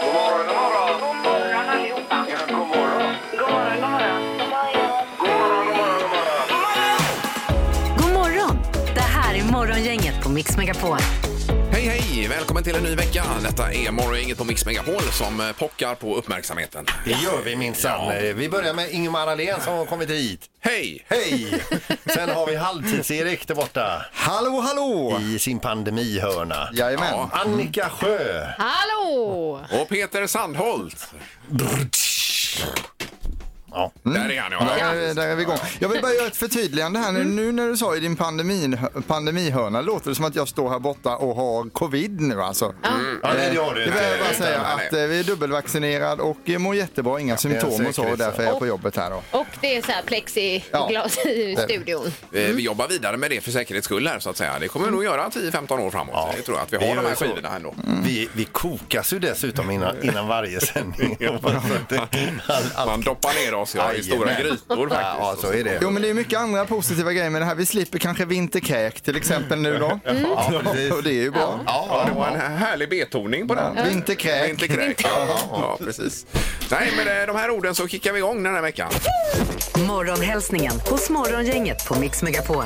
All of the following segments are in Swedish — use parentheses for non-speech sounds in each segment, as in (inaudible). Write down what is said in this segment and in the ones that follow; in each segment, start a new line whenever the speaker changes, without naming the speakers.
God morgon, god morgon.
God morgon allihopa.
Ja, god morgon.
God morgon, god morgon.
God morgon, god morgon, god morgon.
God morgon! Det här är Morgongänget på Mix Megapol.
Hej, hej! Välkommen till en ny vecka. Detta är Morgongänget på Mix Megapol som eh, pockar på uppmärksamheten.
Det gör vi minsann. Eh, Vi börjar med Ingemar Ahlén som har kommit hit.
Hej!
Hej! Sen har vi Halvtids-Erik där borta
Hallå, hallå!
i sin pandemihörna.
Jajamän.
Ja.
Annika Sjö.
Hallå!
Och Peter Sandholt.
Mm. Ja.
Där är han, ja. Eh,
Där, är- där är vi igång. Jag vill bara göra ett förtydligande här nu. Nu när du sa i din pandemin, pandemihörna låter det som att jag står här borta och har covid nu alltså.
Mm.
Ja, nej, det har du
Det vill jag bara
inte.
säga
nej, nej.
att eh, vi är dubbelvaccinerad och eh, mår jättebra, inga symptom och så och
säkerhet,
därför är jag på jobbet här då.
Och det är så här plexiglas i
Ja.
studion.
Eh,
Mm.
Vi jobbar vidare med det för säkerhets skull här så att säga. Det kommer vi nog göra 10-15 år framåt. Jag tror att vi
vi
har de
gör
här
så.
skivorna ändå.
Mm. Vi, vi kokas ju dessutom innan, innan varje sändning. All- all-
Man doppar ner oss ja, i
Jajamän.
stora grytor faktiskt.
Ja, så är det.
Jo men det är mycket andra positiva grejer med det här. Vi slipper kanske vinterkräk till exempel nu då.
Ja, precis.
Och det är ju bra.
Ja, det var en härlig betoning på den.
Vinterkräk.
Vinterkräk. Ja, ja, precis. Nej, men eh, de här orden så kickar vi igång den här veckan.
Morgonhälsningen hos Morgongänget på Mix Megapol.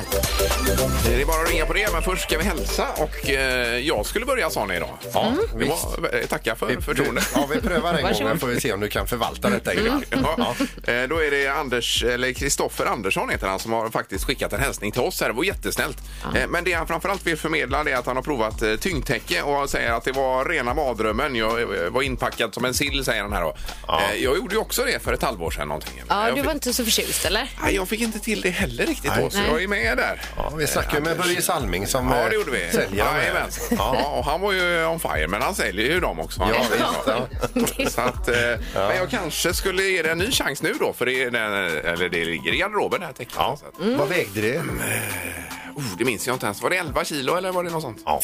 Det är bara att ringa på det, men först ska vi hälsa och eh, jag skulle börja sa ni idag. Ja,
Mm.
vi var, eh, tacka för förtroendet.
Ja, vi prövar en gång, men får vi se om du kan förvalta detta Ingemar.
(laughs)
Ja. Eh, Då är det Anders, eller Kristoffer Andersson heter han, som har faktiskt skickat en hälsning till oss här. Det var jättesnällt. Eh, Men det han framförallt vill förmedla det är att han har provat eh, tyngdtäcke och han säger att det var rena mardrömmen. Jag eh, var inpackad som en sill säger han här då. Eh, Jag gjorde ju också det för ett halvår sedan någonting.
Ja,
jag,
du
fick,
var inte så förtjust eller?
Nej, jag fick inte till det heller riktigt då, så
Nej.
jag är med där.
Ja, vi snackade ju med Börje Salming som
Ja,
eh,
det gjorde vi.
säljer de här.
Jajamän. Ja, och han var ju on fire, men han säljer ju dem också.
Ja, visst,
ja. Så att, eh, Men jag kanske skulle ge det en ny chans nu då, för det, är den, eller det ligger i garderoben det här täcket. Så att,
Vad vägde det?
oh, det minns jag inte ens. Var det 11 kilo eller var det något sånt?
Ja.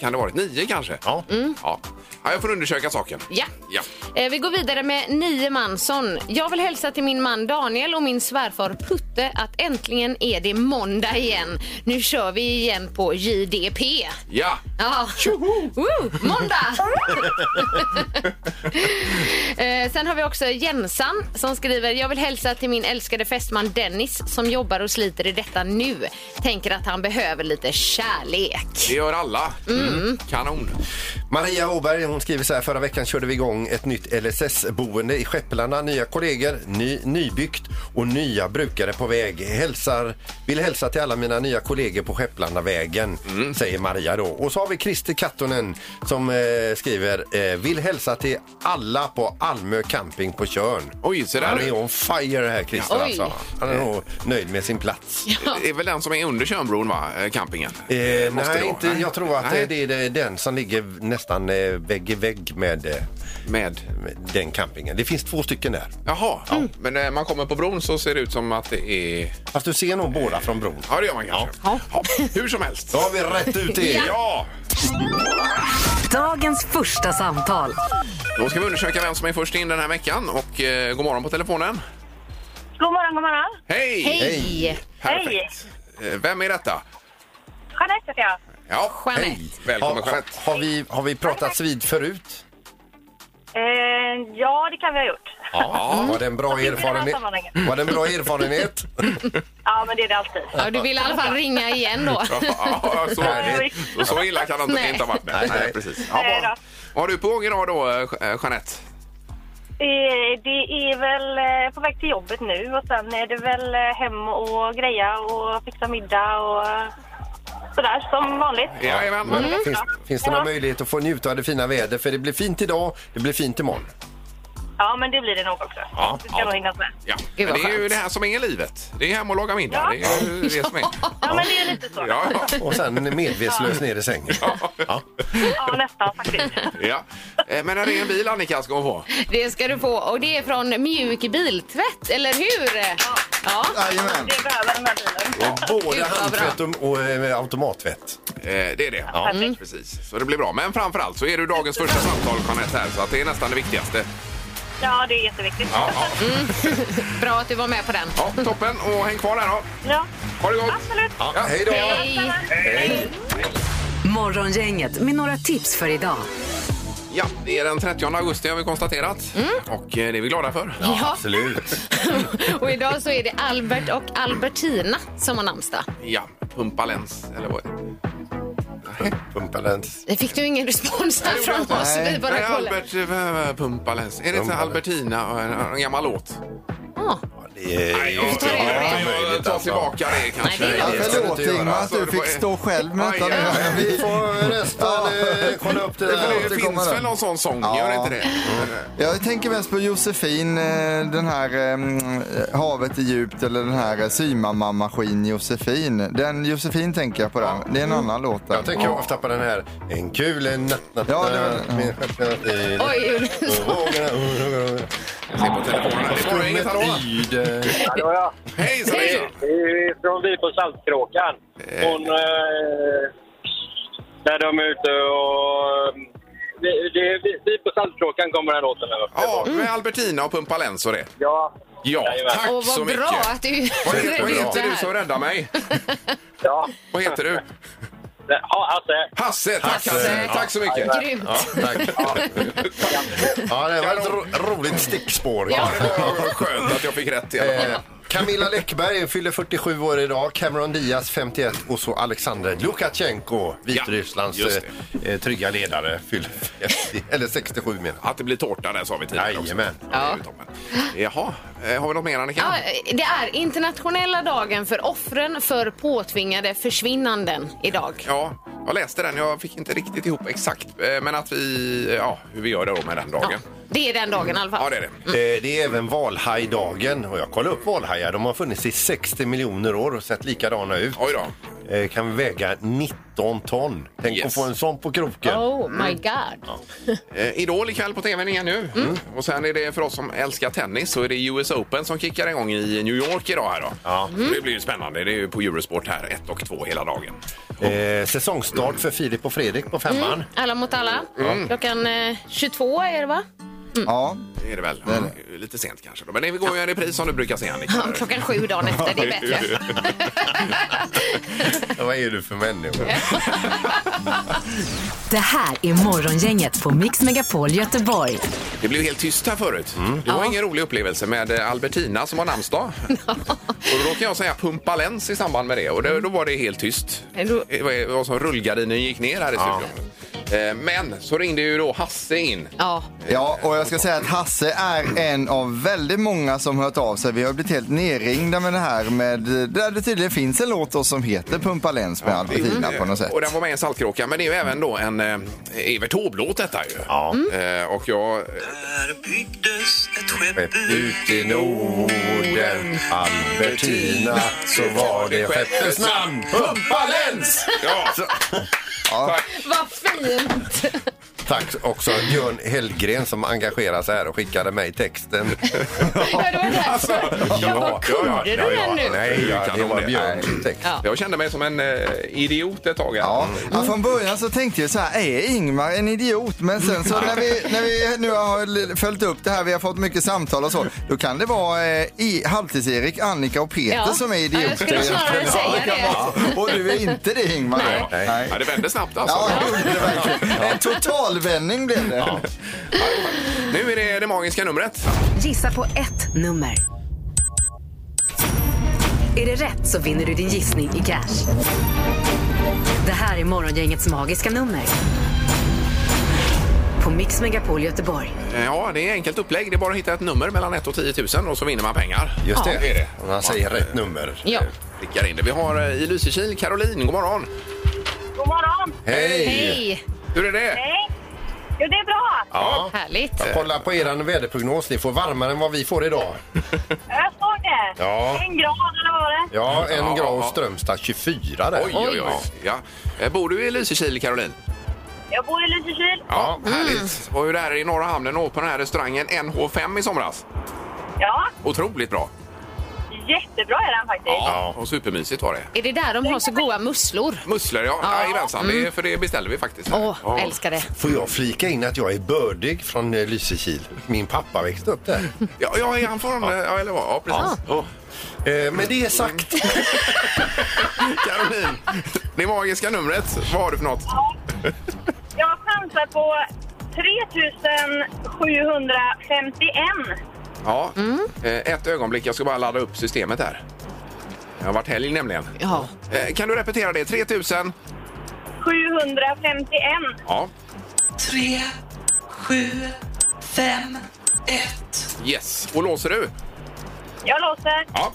Kan det ha varit 9 kanske?
Ja.
ja. Ja, jag får undersöka saken.
Ja.
ja.
Eh, Vi går vidare med Nio Mansson. Jag vill hälsa till min man Daniel och min svärfar Putte att äntligen är det måndag igen. Nu kör vi igen på JDP.
Ja.
Ja. Woo, måndag! eh, sen har vi också Jensan som skriver Jag vill hälsa till min älskade fästman Dennis som jobbar och sliter i detta nu. Tänker att han behöver lite kärlek.
Det gör alla. Mm. Kanon.
Maria Åberg hon skriver så här. Förra veckan körde vi igång ett nytt LSS-boende i Skepplarna. Nya kollegor, ny, nybyggt och nya brukare på väg. Hälsar, vill hälsa till alla mina nya kollegor på Skepplandavägen,
Mm.
säger Maria då. Och så har vi Christer Kattonen som eh, skriver. Eh, vill hälsa till alla på Almö camping på Tjörn.
Oj, se där.
Han är on fire här Christer
Oj.
alltså. Han är nog nöjd med sin plats.
Det är väl den som är under Tjörnbron, va? Eh, Campingen.
Eh,
Måste det
nej,
vara?
inte, jag tror att
Nej.
eh, det är det- den som ligger nästan eh, vägg i vägg med, eh,
Med
med den campingen. Det finns två stycken där.
Jaha, men när man kommer på bron så ser det ut som att det är...
Fast du ser nog båda från bron.
Ja, det gör man kanske. Ja. Hur som helst.
Då har vi rätt ut det.
Ja!
Dagens första samtal.
Då ska vi undersöka vem som är först in den här veckan. Och eh, god morgon på telefonen.
God morgon, god morgon.
Hej!
Hej!
Perfekt. Eh, Vem är detta?
Jeanette heter jag.
Ja,
Jeanette.
Välkommen,
har,
Jeanette.
har, vi, har vi pratats vid förut?
Eh, ja, det kan vi ha gjort.
Ja. Var det en bra
Inte i det här
erfarenhet?
sammanhanget.
Var det en bra erfarenhet?
Ja, men det är det alltid.
Ja, du vill i alla fall ringa igen då.
Ja, så,
Härligt.
så- så illa kan det inte,
Nej.
inte ha varit. Nej,
Nej.
nej, precis. Ja,
Nej
vad, vad har du på gång idag då, eh, Je- eh, Jeanette?
Eh, det är väl eh, på väg till jobbet nu och sen är det väl eh, hem och greja och fixa middag och eh, sådär som vanligt.
Jajamän.
Finns, finns det någon möjlighet att få njuta av det fina vädret? För det blir fint idag, det blir fint imorgon.
Ja, men det blir det nog också.
Ja,
det ska
ja.
nog hinnas med.
Ja. Det
Gud, vad
är ju
skönt.
det här som är livet. Det är hem och laga middag. Det är ju det som
(laughs)
är.
Ja, men det är lite så. Ja,
Ja, ja.
Och sen medvetslös ner i sängen.
nästan (laughs) faktiskt.
(laughs) Ja. Eh, Men när det är en bil Annika ska hon få.
(laughs) Det ska du få. Och det är från Mjuk Biltvätt, eller hur? Ja.
Jajamän.
Det behöver den här bilen.
Både
Gud, vad bra.
handtvätt och, och eh, automatvätt.
Eh, Det är det. Ja.
Mm.
Precis. Så det blir bra. Men framförallt så är du dagens första samtal Jeanette här så att det är nästan det viktigaste.
Ja, det är jätteviktigt.
Ja, ja.
Bra att du var med på den.
ja toppen och häng kvar där då.
Ja,
Ha det gott!
absolut.
Ja.
Hej då!
Hej!
Morgongänget med några tips för idag.
Ja, det är den 30 augusti har vi konstaterat och eh, det är vi glada för.
Mm. Ja, (laughs)
Absolut.
och idag så är det Albert och Albertina som har namnsdag.
Ja, pumpalens eller vad
Pumpalens.
Det fick du ingen respons här
Nej, det gjorde
från
jag
oss.
inte.
Vi bara
Nej,
kollar.
Albert eh, Pumpalens. Är det inte
Pumpalens.
Albertina, en, en gammal låt?
Ja.
Det är
jag,
ta det. alltså.
jag, jag tar tillbaka det kanske.
Nej, det är lugnt.
ska du
Förlåt
inte göra.
Ingmar att
Alltså,
du
det
fick
var-
stå själv med
Aj,
detta.
aj, aj.
(laughs)
Vi-
Vi får nästan eh, kolla upp det
Det,
där.
det,
återkommer
finns
den.
väl någon sån sång,
Ja.
gör det eh, inte det?
Jag tänker mest på Josefin, eh, den här eh, havet är djupt eller den här eh, symamma-maskin Josefin. Den Josefin tänker jag på den. Det är en annan låt där.
Jag tänker ofta på den här. En kul en natt, natt,
Ja, det var-
natt, min stjärtnatt i-
Oj,
Vågorna, vågorna,
Jag ser på telefonen. Det svarar inget hallå.
vågorna. Yde.
Hallå ja.
Hej, så hejsan.
Det är från vi på Saltkråkan. Från, eh, där de är ute och... eh, Det, det, vi, vi på Saltkråkan kommer den låten över.
Ja, med Albertina och Pumpalens och det.
Ja.
Ja,
Jajamän.
tack
och
så
vad
mycket.
bra att du
Vad heter, vad
redde ut det
heter du som
här.
räddar mig?
Ja.
Vad heter du?
Ja, alltså.
Hasse, tack Hasse.
Hasse. Ja.
Tack så mycket.
Grymt.
Ja, tack. Ja, det var ett ro roligt stickspår.
Ja.
Det var skönt att jag fick rätt i alla fall.
Eh, Camilla Läckberg fyller 47 år idag, Cameron Diaz 51 och så Alexander Lukasjenko, Vitrysslands
Ja, just
eh, eh, trygga ledare, fyller 50, eller 67 menar jag.
Att det blir tårta där sa vi tidigare också.
Jajamän.
Ja. det är ju toppen. Jaha, eh, har vi något mer Annika?
Ja, det är internationella dagen för offren för påtvingade försvinnanden idag.
Ja, jag läste den. Jag fick inte riktigt ihop exakt. eh, Men att vi, ja, hur vi gör det då med den
Ja,
dagen.
det är den dagen i alla fall.
Ja, det är det.
Eh, Det är även valhajdagen och jag kollade upp valhajar. De har funnits i 60 miljoner år och sett likadana ut.
Oj då.
Eh, Kan väga 19 ton. Tänk
Yes.
att få en sån på kroken.
Oh
Mm.
my god.
Eh, Idol ikväll på tvn igen nu. Och sen är det för oss som älskar tennis så är det US Open som kickar igång i New York idag här då. Mm.
Ja.
Så Det blir ju spännande. Det är ju på Eurosport här 1 och 2 hela dagen.
Eh, Säsongstart för Filip och Fredrik på femman.
Alla mot alla. Klockan eh, 22 är det va?
Ja.
Det är det väl. Lite sent kanske. Då. Men det går ju en repris som du brukar se Annika.
Ja, Klockan sju dagen efter, det är bättre. (laughs)
Ja, Vad är du för människa?
Det här är Morgongänget på Mix Megapol Göteborg.
Det blev helt tyst här förut. Det var ingen rolig upplevelse med eh, Albertina som har (laughs) namnsdag. och då råkade jag säga pumpalens i samband med det och då, då var det helt tyst. Eh,
Då-
Mm. Det var- det var som rullgardinen gick ner här i studion. Eh, Men så ringde ju då Hasse in.
Ja.
Ja, och jag ska säga att Hasse är en av väldigt många som hört av sig. Vi har blivit helt nerringda med det här med, där det tydligen finns en låt då som heter Pumpa Läns med Albertina på något sätt.
Och den var med i en saltkråka, men det är ju även då en eh, Evert Taube-låt detta ju.
Ja.
Eh, och jag...
Här byggdes ett skepp
Skepp ut i Norden, Albertina, så var det skeppets namn Pumpalens!
Ja, tack.
Vad fint!
Tack också Björn Hellgren som engagerar sig här och skickade mig texten.
Ja, det var
Alltså,
därför. Jag bara, kunde du den nu?
Nej, ja,
Kan
det
hon
var
det?
Björns text.
Ja.
Jag kände mig som en eh, idiot ett tag. här.
Ja, ja, från början så tänkte jag så här, är Ingmar en idiot? Men sen så när vi, när vi nu har l- följt upp det här, vi har fått mycket samtal och så, då kan det vara eh, i- Halvtids-Erik, Annika och Peter
Ja.
som är
Ja, jag
idioter.
skulle snarare
Ja,
säga
kan
det.
vara. Och du är inte det Ingmar?
Nej.
Nej.
Ja, det vände snabbt alltså.
Ja, det gjorde det verkligen. En totalvändning blev det.
Nu är det det magiska numret.
Gissa på ett nummer. Är det rätt så vinner du din gissning i cash. Det här är Morgongängets magiska nummer. På Mix Megapol Göteborg.
Eh, Ja, det är enkelt upplägg. Det är bara att hitta ett nummer mellan 1 och 10 000 och så vinner man pengar.
Just
Ja, det är
det,
det.
om han säger rätt nummer.
Ja.
Klickar in det. Vi har eh, i Lysekil Caroline, god morgon.
God morgon!
Hej!
Hej!
Hur är det?
Hej! Jo, det är bra.
Ja.
Härligt.
Jag kollar på er väderprognos. Ni får varmare än vad vi får idag.
Jag såg det.
Ja.
En grad eller vad var det?
Ja, en
Ja.
grad Strömstad 24 där.
Oj, oj, oj. Ja. Eh, Bor du i Lysekil Caroline?
Jag bor i Lysekil.
Ja, Mm. härligt. Var ju där i Norra Hamnen och åt på den här restaurangen NH5 i somras.
Ja,
Otroligt bra.
jättebra är den faktiskt.
Ja, och supermysigt var det.
Är det där de har så goda musslor?
Musslor, ja. Mm.
Ja.
Jajamensan, det är- för det beställde vi faktiskt. här.
Åh,
Ja.
älskar det.
Får jag flika in att jag är bördig från eh, Lysekil? Min pappa växte upp där.
Ja, ja, är han från... Ja, eller vad? Ja, precis. Ja.
Eh, Med det sagt,
Caroline, det magiska numret, vad har du för något?
Jag chansar på 3751.
Ja,
Mm.
eh, ett ögonblick. Jag ska bara ladda upp systemet här. Jag har varit helg nämligen.
Ja.
Eh, Kan du repetera det? 3000?
751.
Ja.
3, 7, 5, 1.
Yes. Och låser du?
Jag låser.
Ja.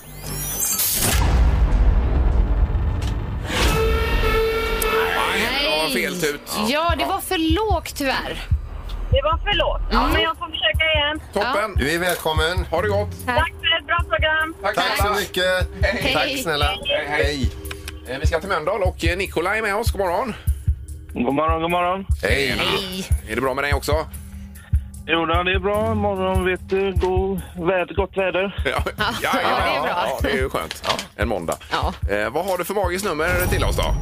Nej, det var fel tut.
Ja, det var för lågt tyvärr.
Det var för lågt. Ja,
Mm.
men jag får försöka igen.
Toppen!
Du är välkommen.
Ha det gott!
Tack för ett bra program.
Tack,
Tack så mycket.
Hej.
Tack snälla.
Hej, hej.
Hej.
Eh, Vi ska till Mölndal och eh, Nikolaj är med oss. God morgon!
God morgon, god morgon.
Hej!
Nej.
Är det bra med dig också?
Jo, det är bra. Morgon, vet du. God väder, gott väder.
(laughs) Ja, ja,
Ja, det är bra.
Ja, det är ju skönt. En måndag.
Ja.
Eh, vad har du för magiskt nummer till oss då?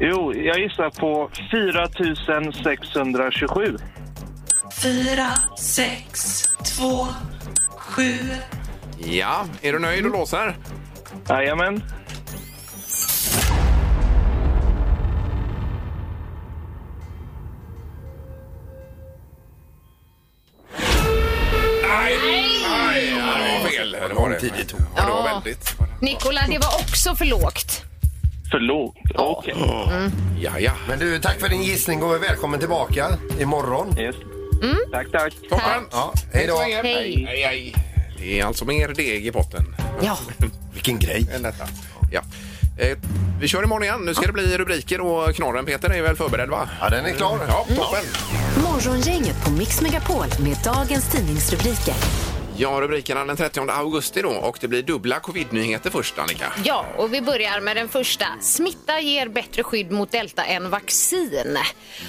Jo, jag gissar på 4627.
4, 6, 2, 7.
Ja, är du nöjd och låser?
Jajamän.
Nej! Nej, ja, det var fel.
Mm.
Det var det.
tid det tog.
Ja, det var
Ja.
väldigt.
Nikola, det var också för lågt.
För lågt? Okej.
Ja, ja.
Men du, tack för din gissning och välkommen tillbaka imorgon.
Yes. Tack, tack.
Toppen!
Ja, hej då.
Hej.
Hej.
Hej, hej. Det är alltså mer deg i potten
Ja.
Vilken grej.
än detta. Ja. Eh, vi kör imorgon igen. Nu ska det bli rubriker och knorren. Peter är väl förberedd va?
Ja, den är klar.
Ja, toppen.
Morgongänget på Mix Megapol med dagens tidningsrubriker.
Ja, rubrikerna den 30 augusti då och det blir dubbla covid-nyheter först Annika.
Ja, och vi börjar med den första. Smitta ger bättre skydd mot delta än vaccin.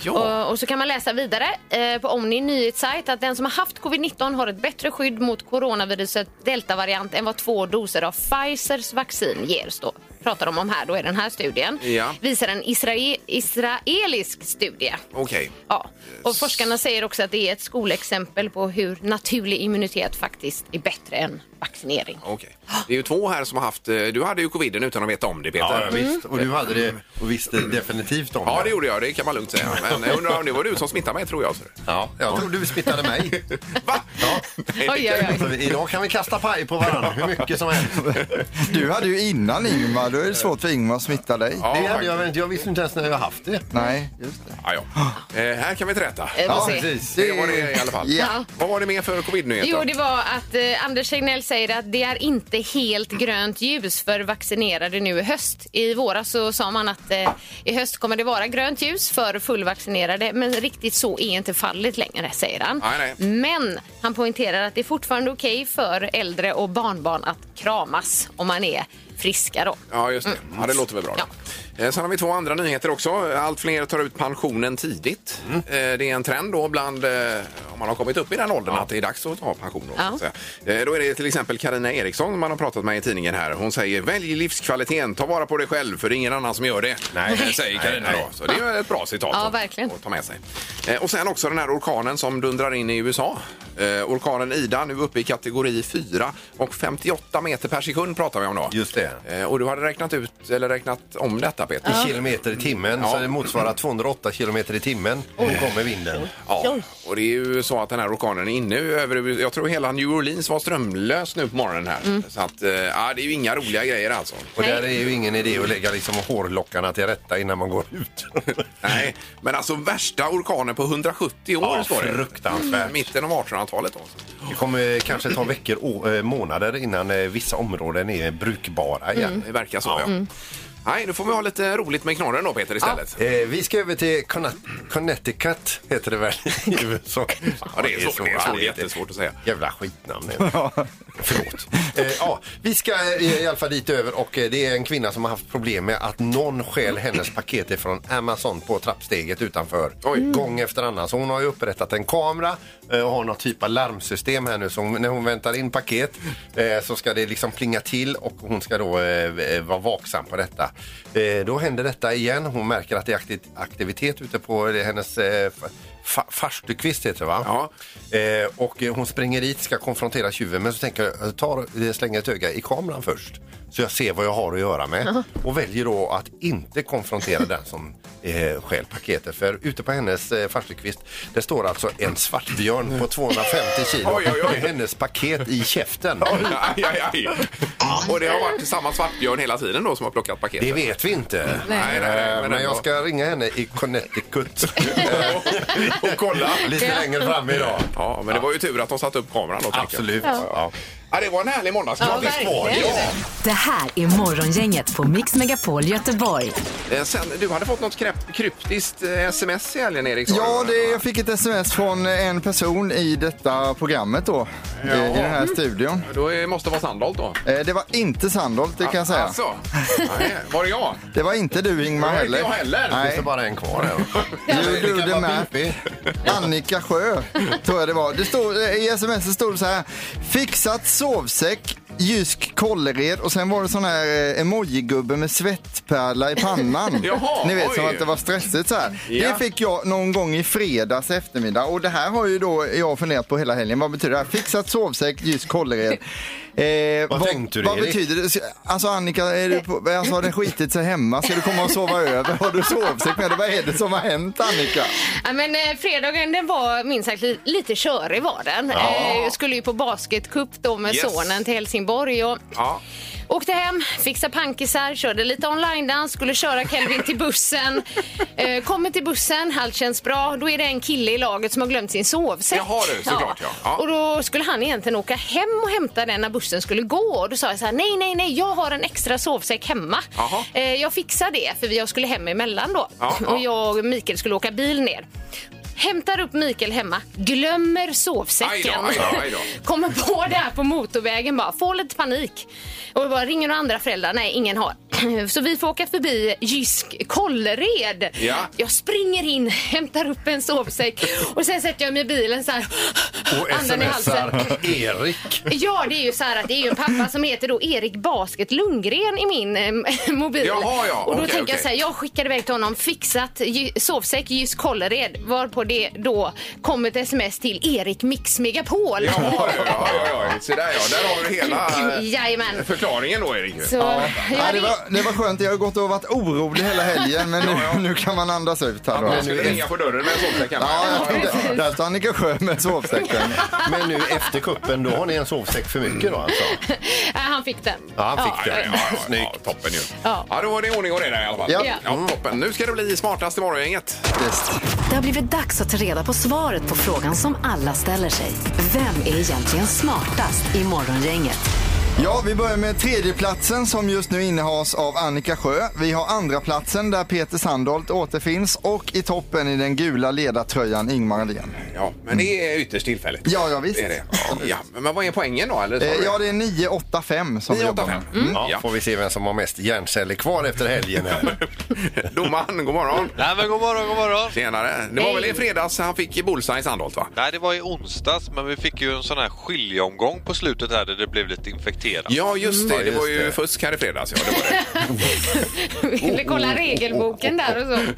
Ja.
Och, och så kan man läsa vidare eh, på Omni nyhetssajt att den som har haft covid-19 har ett bättre skydd mot coronaviruset deltavariant än vad två doser av Pfizers vaccin ger. Stå, pratar de om här då i den här studien.
Ja.
Visar en israe- israelisk studie.
Okej.
Ja, och forskarna säger också att det är ett skolexempel på hur naturlig immunitet faktiskt är bättre än vaccinering.
Okej. Det är ju två här som har haft... eh, Du hade ju coviden utan att veta om det,
Ja,
Peter.
visst. Och du hade det och visste definitivt om
Mm. Ja, det gjorde jag. Det kan man lugnt säga. Men jag undrar om det var du som smittade mig, tror jag. så.
Ja, jag tror du smittade mig.
(laughs) Va?
Ja.
Nej,
Oj, oj, oj.
Så vi- Idag kan vi kasta paj på varandra hur mycket som helst.
Du hade ju innan Ingmar, då är det svårt för Ingmar att smitta dig.
Ja,
Det hade jag,
faktiskt.
väl inte. jag visste inte ens när jag haft det.
Nej, just det.
ja, ja. Eh, här kan vi träta.
Eh, får
Ja,
se.
precis.
Det var det i alla fall.
Ja.
Vad var det mer för covid-nyheter?
Jo, det var att eh, Anders Tegnell säger att det är inte helt grönt ljus för vaccinerade nu i höst. I våras så sa man att eh, i höst kommer det vara grönt ljus för fullvaccinerade, men riktigt så är inte fallet längre, säger han.
Nej, nej.
Men han poängterar att det är fortfarande okej för äldre och barnbarn att kramas om man är friska då.
Ja, just det. Ja, det låter väl bra. då. Eh, Sen har vi två andra nyheter också. Allt fler tar ut pensionen tidigt. Eh, Det är en trend då bland, eh, om man har kommit upp i den åldern, att det är dags att ta pension. Då,
Ja.
så att säga. Eh, då är det till exempel Karina Eriksson man har pratat med i tidningen här. Hon säger välj livskvaliteten, ta vara på dig själv för det är ingen annan som gör det. Nej. Säger Carina då. Så det är ju ett bra citat
Ja,
att-
verkligen.
att ta med sig. Eh, Och sen också den här orkanen som dundrar in i USA. Eh, Orkanen Ida nu uppe i kategori 4 och 58 meter per sekund pratar vi om då.
Just det.
Eh, Och du hade räknat ut, eller räknat om detta Peter?
I kilometer i timmen,
Ja.
så det motsvarar 208 kilometer i timmen. Nu kommer vinden.
Ja. Och det är ju så att den här orkanen är inne över, jag tror hela New Orleans var strömlös nu på morgonen här. Så att, eh, ja, det är ju inga roliga grejer alltså.
Och där är ju ingen idé att lägga liksom hårlockarna till rätta innan man går ut.
Nej, men alltså värsta orkanen på 170 år
Ja,
står det.
fruktansvärt.
Mitten av 1800-talet alltså.
Det kommer kanske ta veckor, å- eh, månader innan eh, vissa områden är brukbara igen.
Det verkar så ja. Nej, nu får vi ha lite roligt med knorren då Peter istället. Ja.
Eh, vi ska över till Conna- Connecticut, heter det väl (laughs) i USA?
det är svårt, det är svårt, jättesvårt att säga.
Jävla skitnamn. är det. Förlåt. Eh, ja, vi ska eh, i alla fall dit över och eh, det är en kvinna som har haft problem med att någon stjäl hennes paket ifrån Amazon på trappsteget utanför. Mm.
Oj.
Gång efter annan. Så hon har ju upprättat en kamera eh, och har någon typ av larmsystem här nu. Så hon, när hon väntar in paket eh, så ska det liksom plinga till och hon ska då eh, vara vaksam på detta. Eh, då händer detta igen. Hon märker att det är akti- aktivitet ute på eh, hennes eh, f- Fa- Farstuqvist heter det va?
Ja.
Eh, och eh, hon springer dit, ska konfrontera tjuven men så tänker jag, jag tar, jag slänger ett öga i kameran först så jag ser vad jag har att göra med och väljer då att inte konfrontera den som eh, stjäl paketet. För ute på hennes eh, Farstuqvist, det står alltså en svartbjörn på 250 kilo
Oj, oj, oj.
med hennes paket i käften.
Aj, aj, aj. Och det har varit samma svartbjörn hela tiden då som har plockat paketet?
Det vet vi inte.
Nej, nej, nej,
Eh,
men
Men
ändå.
jag ska ringa henne i Connecticut
(laughs) Och, och kolla.
lite längre fram idag.
Ja, men det var ju tur att de satte upp kameran då. tänker jag.
Absolut. Ja.
Ja, det var en härlig
Ja,
måndagskväll.
verkligen.
Det här är Morgongänget på Mix Megapol Göteborg.
Eh, Sen, du hade fått något kryp- kryptiskt eh, sms i helgen, Erik. sa
Ja,
du,
det,
va?
jag fick ett sms från en person i detta programmet då, i, i den här studion.
Då är- måste det vara Sandholt då.
Eh, Det var inte Sandholt, det kan jag säga.
Alltså, nej, var det jag?
Det var inte du Ingmar
Det var inte
heller.
jag heller.
Finns
Nej,
det bara en kvar här?
you
Det
do
kan
the
vara
math.
pipig.
Annika Sjö, tror jag det var. Det stod, eh, I sms stod det så här. Fixat sovsäck, Jysk Kållered och sen var det sån här eh, emojigubbe med svettpärla i pannan.
(laughs) Jaha,
Ni vet
oj.
som att det var stressigt så här.
Ja.
Det fick jag någon gång i fredags eftermiddag och det här har ju då jag funderat på hela helgen. Vad betyder det här? Fixat sovsäck,
(laughs)
Jysk Kållered. Eh,
Vad tänkte du,
Vad
Erik?
betyder det? Alltså Annika, är du på, alltså, har det skitit sig hemma? Ska du komma och sova över? Har du sovsäck med dig? Vad är det som har hänt Annika?
Ja, men, eh, fredagen den var minst sagt li- lite körig var den. Eh, jag skulle ju på basketcup då med
Yes.
sonen till Helsingborg. Och
Ja.
Åkte hem, fixade pankisar, körde lite online-dans, skulle köra Kelvin till bussen.
(laughs)
Eh, kommer till bussen, allt känns bra. Då är det en kille i laget som har glömt sin sovsäck.
Jaha du, såklart, ja. Ja.
Och då skulle han egentligen åka hem och hämta den när bussen skulle gå. Och då sa jag så här, nej, nej, nej, jag har en extra sovsäck hemma.
Jaha.
Eh, jag fixar det, för jag skulle hem emellan då.
Ja, ja.
Och jag och Mikael skulle åka bil ner. Hämtar upp Mikael hemma, glömmer sovsäcken.
Aj då, aj då, aj då.
Kommer på (laughs) det här på motorvägen bara, får lite panik. Och bara ringer några andra föräldrar, nej ingen har. (clears throat) Så vi får åka förbi Jysk Kållered.
Ja.
Jag springer in, hämtar upp en sovsäck och sen sätter jag mig i bilen så här.
Och smsar Erik.
Ja, det är ju så här att det är ju en pappa som heter då Erik Basket Lundgren i min eh, (laughs) mobil.
Jaha, ja.
Och då
Okej,
tänker jag
okej.
så här, jag skickar iväg till honom, fixat ju- sovsäck, just Kållered, varpå det då kom ett sms till Erik Mix Megapol.
Jaha,
(laughs)
ja, ja, ja, ja. Så där ja, där har du
(clears throat)
hela eh,
Jajamän.
förklaringen då, Erik.
Så,
Ja,
jag
det,
ring-
var, det var skönt, jag har gått och varit orolig hela helgen men nu, nu kan man andas ut här.
Jag
Då.
skulle ringa på dörren med en sovsäck hemma.
Ja,
Ja, ja, ja.
där står Annika Sjö med sovsäcken.
Men nu efter kuppen, då har ni en sovsäck för mycket då alltså?
Ja, han fick den.
Ja, han fick
Mm. Ja, ja,
det.
ja,
Snyggt.
Ja, toppen ju. Ja.
Ja.
då var det ordning och reda i alla fall.
Ja.
toppen. Nu ska det bli smartast i morgongänget.
Det har blivit dags att ta reda på svaret på frågan som alla ställer sig. Vem är egentligen smartast i Morgongänget?
Ja, vi börjar med tredjeplatsen som just nu innehas av Annika Sjö. Vi har andra platsen där Peter Sandholt återfinns och i toppen i den gula ledartröjan Ingmar Eh, Ahlén.
Ja, men det är ytterst tillfälligt.
Ja, ja, visst.
Det är det. Ja, ja. Men vad är poängen då? Eller?
Eh, Ja, det är 985 som vi jobbar
985.
med.
Mm.
Ja,
Ja.
får vi se vem som har mest hjärnceller kvar efter helgen. Här.
Domaren, god morgon.
Nej men god morgon, god morgon.
Tjenare. Det var
Hej.
väl i fredags han fick bullseye i Sandholt, va?
Nej, det var i onsdags, men vi fick ju en sån här skiljeomgång på slutet här där det blev lite infekterat.
Ja, just det.
Ja,
Det
Mm.
just
var ju
det.
fusk här i fredags. Ja, det var
(laughs)
det. Oh,
Ville kolla regelboken där och så.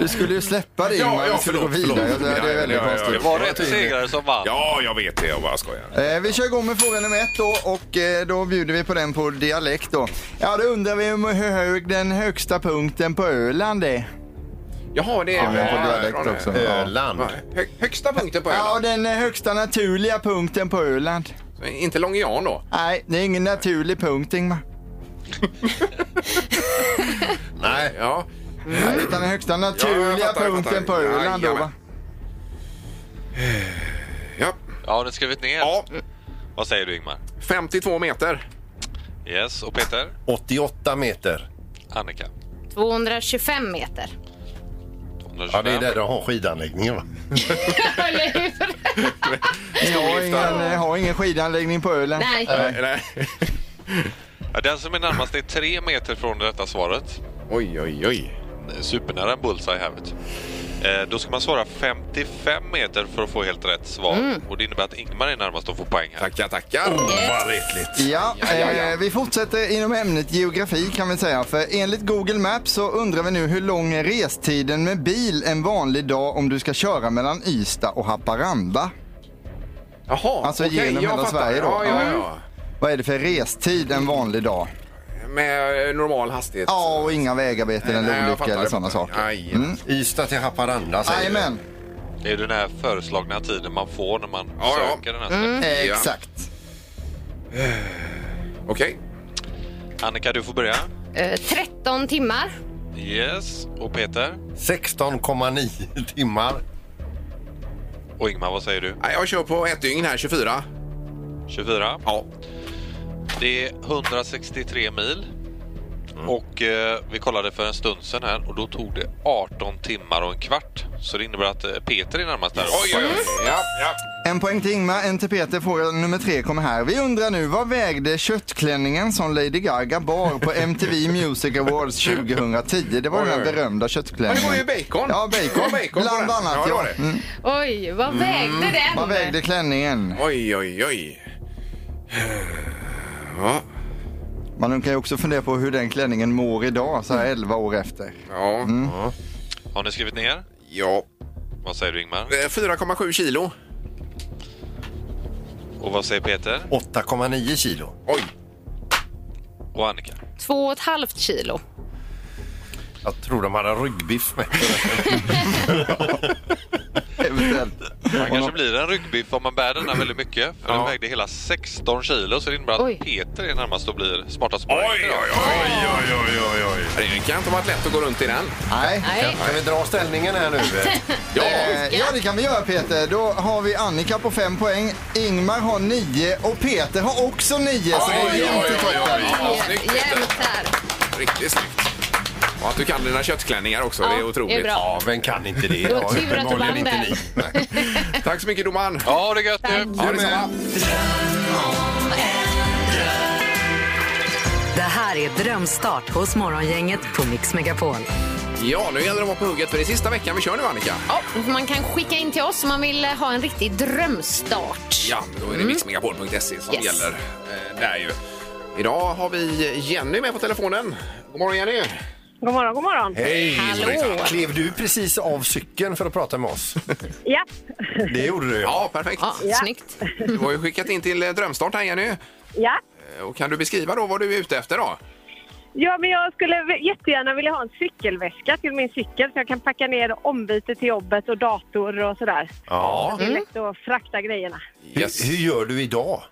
Du skulle ju släppa det Ingmar, vi skulle gå vidare. Det är väldigt
Ja, ja, ja, ja,
konstigt.
Det
jag
var
vet.
rätt segrare som vann.
Ja, jag vet det. Jag bara skojar.
Eh, Vi kör igång med fråga nummer ett då och eh, då bjuder vi på den på dialekt då. Ja, då undrar vi om hur hög den högsta punkten på Öland är.
Jaha, det är...
Ja, jag får
(laughs)
dialekt
Ja, det är-
också.
Öland.
Hö- Högsta punkten på
Ja,
Öland?
den eh, högsta naturliga punkten på Öland.
Inte Långe Jan då?
Nej, det är ingen naturlig punkt Ingmar.
Nej,
Ja.
Utan den högsta
Ja, jag
naturliga
fattar, jag
punkten på
fattar.
Öland då va?
Jajamän. ja.
Ja, har ni skrivit ner?
Ja,
Vad säger du Ingmar?
52 meter.
Yes, och Peter?
88 meter.
Annika?
225 meter. (laughs)
225.
Ja, det är där de har skidanläggningen va?
Eller hur?
Jag har ingen, eh, har ingen skidanläggning på Öland.
Nej.
Eller?
Ja, Den som är närmast är tre meter från det rätta svaret.
Oj, oj, oj.
Supernära en bullseye här vet du. Eh, Då ska man svara 55 meter för att få helt rätt svar. Och det innebär att Ingmar är närmast att få poäng här.
Tackar, tackar.
Vad retligt.
Ja, Eh, vi fortsätter inom ämnet geografi kan vi säga. För enligt Google Maps så undrar vi nu hur lång är restiden med bil en vanlig dag om du ska köra mellan Ystad och Haparanda?
Jaha,
Alltså
okej,
genom
jag
hela
fattar.
Sverige då.
Ja, ja, ja.
Vad är det för restid en vanlig dag?
Med eh, normal hastighet.
Mm. Ja, och inga vägarbeten
Nej,
eller
jag fattar,
olyckor eller
jag
sådana
fattar.
saker. Mm.
Aj.
Ystad till Haparanda säger du.
Jajamän,
Det är den här föreslagna tiden man får när man
Ja, ja.
söker den här
Mm.
sträckan.
Mm. Ja.
exakt.
Okej.
Annika, du får börja.
Eh, 13 timmar.
Yes. Och Peter?
16,9 timmar.
Och Ingmar, vad säger du?
Nej, Jag kör på ett dygn här, 24.
24.
Ja.
Det är 163 mil.
Mm.
Och eh, vi kollade för en stund sedan här och då tog det 18 timmar och en kvart. Så det innebär att eh, Peter är närmast där.
Oj, oj, oj. Ja, ja.
En poäng till Ingmar, en till Peter, fråga nummer tre kommer här. Vi undrar nu, vad vägde köttklänningen som Lady Gaga bar på MTV Music Awards 2010? Det var den
Oj,
här
oj.
berömda
Ja,
köttklänningen.
det var ju bacon.
Ja,
Det var
bacon.
bacon på
Bland
den.
annat,
Ja, det var
ja.
det.
Mm.
Oj, vad vägde den?
Vad vägde klänningen?
Oj, oj, oj.
Mm.
Ja,
Man kan ju också fundera på hur den klänningen mår idag, så här 11 år efter.
ja.
Mm.
Har ni skrivit ner?
ja.
Vad säger du Ingmar?
Eh, 4,7 kilo.
Och vad säger Peter?
8,9 kilo.
Oj.
Och Annika?
Två och ett halvt kilo.
Jag tror de hade ryggbiff med.
Eventuellt.
Man kanske blir en ryggbiff om man bär denna väldigt mycket. För den
Ja.
vägde hela 16 kilo så det innebär att
Oj.
Peter är närmast och blir smartast på
Oj,
idag.
oj, oj, (laughs) oj, oj, oj, oj. Det kan inte ha varit lätt att gå runt i den.
Nej.
Nej.
Kan vi dra ställningen här nu?
(laughs) Ja,
Eh, Ja, det kan vi göra Peter. Då har vi Annika på 5 poäng, Ingmar har 9 och Peter har också 9. Så det är
Oj,
jämnt
oj,
i
oj,
toppen.
oj. Ja, snyggt, Peter.
Jämnt här.
riktigt snyggt. Och att du kan dina köttklänningar också, det är otroligt.
det är bra.
Ja, vem kan inte det?
(laughs) Det var tur att du vann där.
Tack så mycket domaren.
Ja, det är gött nu!
Ja, detsamma.
Det här är Drömstart hos Morgongänget på Mix Megapol.
Ja, nu gäller det att vara på hugget för det är sista veckan vi kör nu Annika.
Ja, man kan skicka in till oss om man vill eh, ha en riktig drömstart.
Ja, då är det mixmegapol.se som
Yes.
gäller eh, där ju. Idag har vi Jenny med på telefonen. God morgon Jenny!
God morgon, god morgon.
Hej!
Hallå!
Klev du precis av cykeln för att prata med oss?
Ja,
(laughs) Det gjorde du.
Ja, perfekt.
Ja,
Ja.
snyggt.
Du har ju skickat in till eh, Drömstart här Jenny.
ja.
Eh, Och kan du beskriva då vad du är ute efter då?
Ja, men jag skulle v- jättegärna vilja ha en cykelväska till min cykel så jag kan packa ner ombyte till jobbet och dator och
Mm.
sådär.
Ja.
Det är lätt att frakta grejerna.
Hur, hur gör du idag?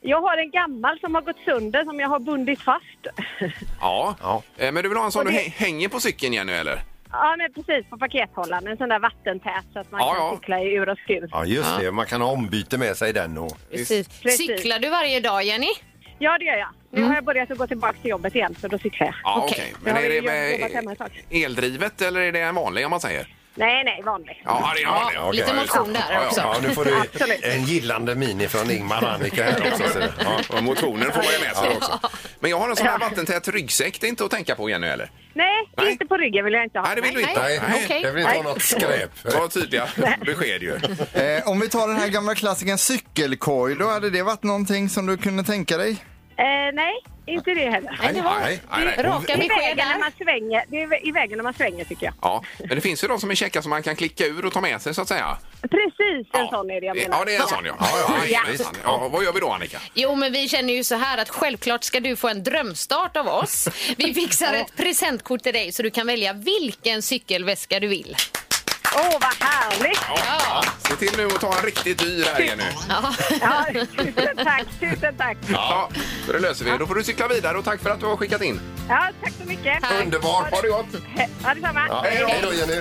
Jag har en gammal som har gått sönder som jag har bundit fast. (laughs)
Ja.
Ja.
Eh, Men du vill ha en sån
Och
du
det-
hä- hänger på cykeln Jenny eller?
Ja, men precis på pakethållaren. En sån där vattentät så att man
Ja,
kan
ja.
cykla i ur och skur.
Ja, just det. Man kan ha ombyte med sig den. Och...
Precis.
Precis.
Cyklar du varje dag, Jenny?
Ja, det gör jag. Nu har jag börjat att gå tillbaka till jobbet igen så då cyklar jag.
Mm. Ja, okej.
Okej.
Men
Jag
är
har
det
ju jobbat hemma
med
ett tag.
eldrivet eller är det en vanlig om man säger?
Nej, nej, vanlig.
Ja, det är en vanlig.
Ja,
okej.
lite motion där
Ja, ja,
också.
Ja, nu får du
Absolut.
en gillande mini från Ingmar och Annika här också. så- (laughs) Ja.
Och motionen får man ju med sig också. Men jag har en sån här vattentät ryggsäck, det är inte att tänka på Jenny eller?
Nej,
Nej.
inte på ryggen vill jag inte ha.
Nej, det vill du inte.
Nej,
Okej.
jag vill inte ha något (laughs) skräp.
Det var tydliga besked ju.
Eh, om vi tar den här gamla klassiken cykelkorg, då hade det varit någonting som du kunde tänka dig?
Eh, nej, inte det heller.
Nej, det var
Nej.
raka
I vägen när
besked där.
man svänger. Det är i vägen när man svänger tycker jag.
Ja, men det finns ju de som är käcka som man kan klicka ur och ta med sig så att säga.
Precis en
Ja.
sån är det jag menar.
Ja, det är en sån ja. Ja, ja, visst. ja. Vad gör vi då Annika?
Jo, men vi känner ju så här att självklart ska du få en drömstart av oss. Vi fixar ett presentkort till dig så du kan välja vilken cykelväska du vill.
Åh, vad härligt!
Ja,
Se till nu att ta en riktigt dyr här Jenny.
Ja, tusen tack, tusen tack.
Ja, så det löser vi. Då får du cykla vidare och tack för att du har skickat in.
Ja, tack så mycket.
Underbart.
Ha det gott!
He- Ha detsamma.
Hej då, Jenny.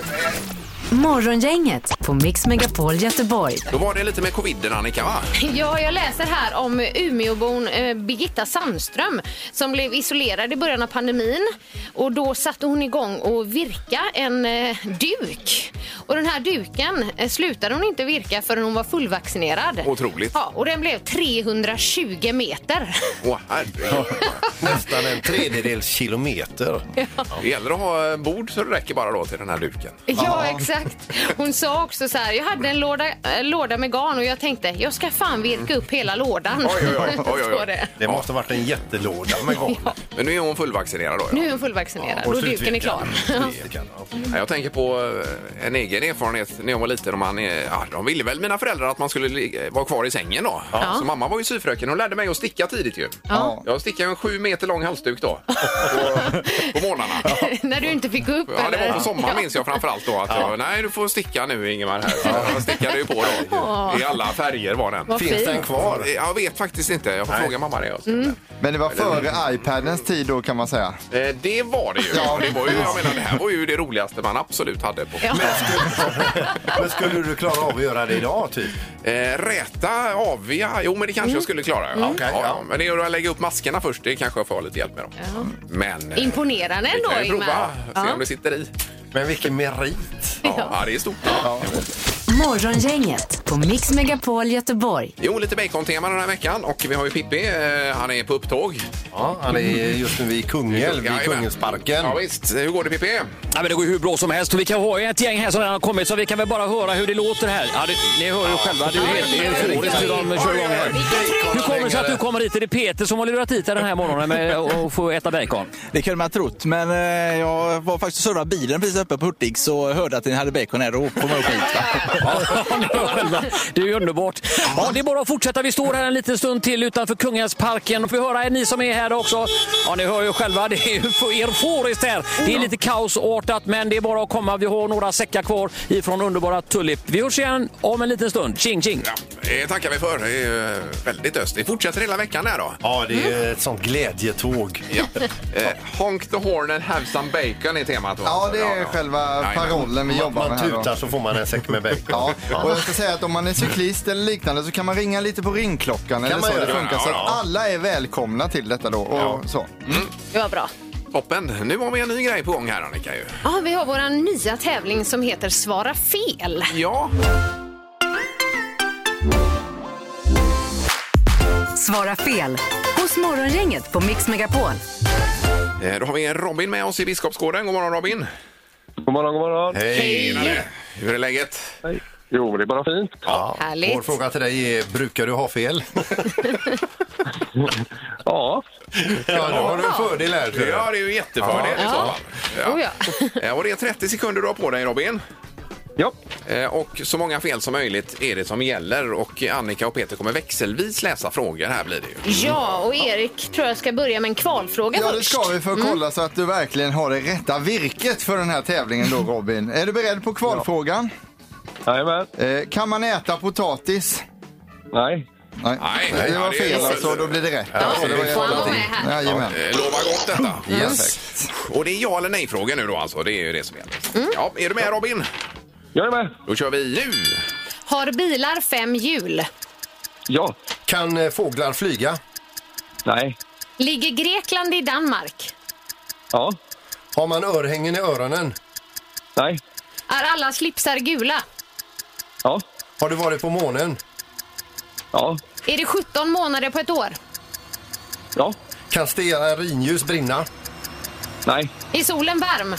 Morgongänget på Mix Megapol Göteborg.
Då var det lite med coviden Annika va?
ja jag läser här om Umeåbon eh, Birgitta Sandström som blev isolerad i början av pandemin. Och då satte hon igång och virka en eh, duk. Och den här duken eh, slutade hon inte virka förrän hon var fullvaccinerad.
Otroligt.
Ja, och den blev 320 meter.
Åh, herregud.
(laughs) Nästan en tredjedels kilometer.
Det gäller att ha eh, bord så det räcker bara då till den här duken.
Ja, exakt. Hon sa också så här, jag hade en låda, eh, låda med garn och jag tänkte, jag ska fan virka upp hela lådan.
Oj, oj, oj, oj,
(laughs)
oj.
Står det.
Det måste ha varit en jättelåda med garn.
Men nu är hon fullvaccinerad då? ja.
Nu är hon fullvaccinerad och duken är klar. (laughs)
Slutvirkad, ja.
Ja, Jag tänker på eh, en egen erfarenhet när jag var liten. Och man, eh, ja, de ville väl mina föräldrar att man skulle ligga- vara kvar i sängen då. Så mamma var ju syfröken. Hon lärde mig att sticka tidigt ju.
Ja.
Jag stickade en sju meter lång halsduk då. På, på morgnarna.
(laughs) När du inte fick gå upp
Ja, det var
eller?
på sommaren minns jag framförallt då. Att jag, nej, du får sticka nu Ingemar här. Så Jag stickade ju på
(laughs)
då. I alla färger var den.
Vad
Finns den
fint.
kvar?
Jag vet faktiskt inte. Jag får fråga mamma det. Jag mm.
Men det var före iPadens tid då kan man säga.
Eh, Det var det ju.
Ja.
Det, var ju jag menar, det här var ju det roligaste man absolut hade på.
Ja.
Men skulle du klara av att göra det idag typ?
Eh, räta, avia, jo men det kanske
Mm.
jag skulle klara. Ja.
Okej,
ja,
ja.
Men det är att lägga upp maskerna först, det kanske jag får ha lite hjälp med. Dem. Men eh,
Imponerande
vi kan
ändå,
ju prova,
Ingmar.
se
Ja.
om det sitter i.
Men vilken merit!
Ja, ja. det är stort. Ja.
Morgongänget på Mix Megapol Göteborg.
Jo, lite bacontema den här veckan och vi har ju Pippi, eh, han är på upptåg.
Ja, han är just nu vid Kungälv, i
Jajamän.
Kungälvsparken.
Ja, visst. Hur går det Pippi?
Ja, men det går ju hur bra som helst och vi kan ha ett gäng här som redan har kommit så vi kan väl bara höra hur det låter här. Ja, det, ni hör ju själva, det är ju helt det är euforiskt hur de kör igång här. Hur kommer det sig att du kommer hit? Är det Peter som har lurat hit dig den här morgonen med att få äta bacon?
Det kunde man ha trott, men eh, jag var faktiskt och surrade bilen precis uppe på Hurtig så hörde att ni hade bacon här och kom jag upp hit. Va?
Ja, ni hör själva. det är ju underbart. Ja, det är bara att fortsätta. Vi står här en liten stund till utanför Kungälvsparken. Och vi höra är ni som är här också. Ja, ni hör ju själva. Det är ju för- euforiskt här. Det är lite kaosartat, men det är bara att komma. Vi har några säckar kvar ifrån underbara Tulip. Vi hörs igen om en liten stund. Tjing, tjing!
Ja, det Eh, tackar vi för. Det är ju eh, väldigt öst. Det fortsätter hela veckan här då.
Ja, det är ett sånt glädjetåg.
Ja. Eh, honk the horn and have some bacon är temat. då.
Ja, det är själva
Jajamän.
parollen vi jobbar
Man
med här då.
tutar så får man en säck med bacon.
Ja, och jag ska säga att om man är cyklist eller liknande så kan man ringa lite på ringklockan eller
man
så det
göra?
funkar.
Ja,
Så
ja.
att alla är välkomna till detta då. Och så.
Det var bra.
Toppen. Nu har vi en ny grej på gång här Annika. Ju.
Ja, vi har vår nya tävling som heter Svara fel.
Ja.
Svara fel hos Morgongänget på Mix Megapol.
Eh, Då har vi Robin med oss i Biskopsgården. God morgon Robin!
God morgon, god morgon.
Hej!
Tjenare. Hur är läget?
Jo, men det är bara fint.
Ja.
Härligt.
Vår fråga till dig är, brukar du ha fel?
Ja,
Ja, då har du en fördel här. tror jag.
Ja, det är ju jättefördel i så fall.
Oh, ja.
Eh, Och det är 30 sekunder du har på dig Robin.
ja.
Eh, Och så många fel som möjligt är det som gäller. Och Annika och Peter kommer växelvis läsa frågor här blir det ju.
ja, och Erik tror jag ska börja med en kvalfråga
Ja, det
först.
ska vi för att kolla så att du verkligen har det rätta virket för den här tävlingen då Robin. Är du beredd på kvalfrågan?
Jajamän.
Eh, kan man äta potatis?
Nej.
Nej,
Nej,
det
ja,
var
det är
fel
fel.
alltså. Då blir det rätt.
Ja,
alltså, det
det
får han vara med här.
Jajamän.
Eh, Lovar gott detta.
Yes.
Och det är ja eller nej-frågor nu då alltså. Det är ju det som gäller.
Mm.
Ja, är du med Robin?
Jag är med.
Då kör vi nu!
Har bilar fem hjul?
Ja.
Kan eh, fåglar flyga?
Nej.
Ligger Grekland i Danmark?
Ja.
Har man örhängen i öronen?
Nej.
Är alla slipsar gula?
Ja.
Har du varit på månen?
Ja.
Är det 17 månader på ett år?
Ja.
Kan stearinljus brinna?
Nej.
Är solen varm?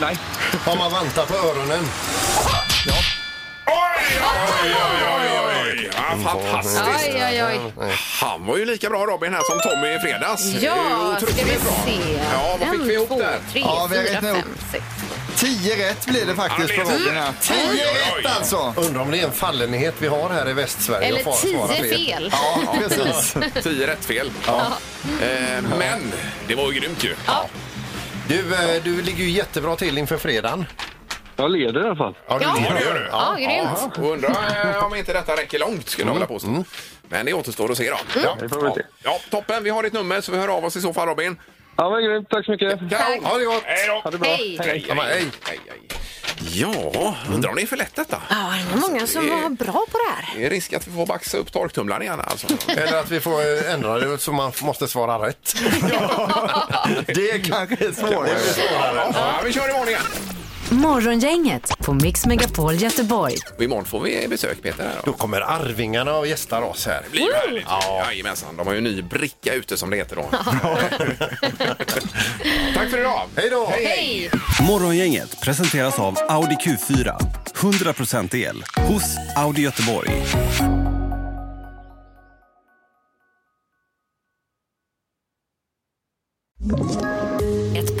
Nej.
Har man vantar på öronen?
Oj, oj, oj, oj, oj! Ja, fantastiskt!
Oj, oj, oj.
Han var ju lika bra Robin här som Tommy i fredags. Det är ju
Ja, ska
otroligt
vi
bra.
se.
Ja, vad fick
En,
vi ihop
två,
där?
tre,
Ja, vi har
fyra,
räknat
fem,
ihop.
sex.
10 rätt blir det faktiskt
Ja,
på
det är
Robin här.
rätt.
10
Oj, oj, oj.
rätt alltså!
Undrar om det är en fallenhet vi har här i Västsverige.
Eller
att få svara
tio fel.
(laughs)
Ja, precis.
(laughs) Tio rätt fel. Ja. Eh, men det var ju grymt ju. Ja.
Du, eh, du ligger ju jättebra till inför fredagen.
Jag leder i alla fall.
du
Ja.
ligger-
det gör du.
Ja, grymt.
Och undrar eh, om inte detta räcker långt skulle jag vilja påstå. Men det återstår att se då. Ja.
Mm. Det får vi se.
ja, toppen. Vi har ditt nummer så vi hör av oss i så fall Robin.
Ja, men grymt. Tack så mycket.
Kanon.
Ha det gott!
Hej då!
Ha det bra.
Hej.
Hej, hej, hej. hej, hej. Ja, undrar om det är för lätt detta.
Ja, det var många som var bra på det här.
Det är risk att vi får baxa upp torktumlaren igen alltså.
Eller att vi får eh, ändra det så man måste svara rätt.
Det kanske är svårare.
Ja, vi kör imorgon igen.
Morgongänget på Mix Megapol Göteborg.
Och imorgon får vi besök Peter här
Då
då.
kommer Arvingarna och gästar oss här.
Blir det härligt? Ja, Jajamensan, de har ju en ny bricka ute som det heter då. Tack för idag!
Hej då!
Hej!
Morgongänget presenteras av Audi Q4. 100% el hos Audi Göteborg.
Ett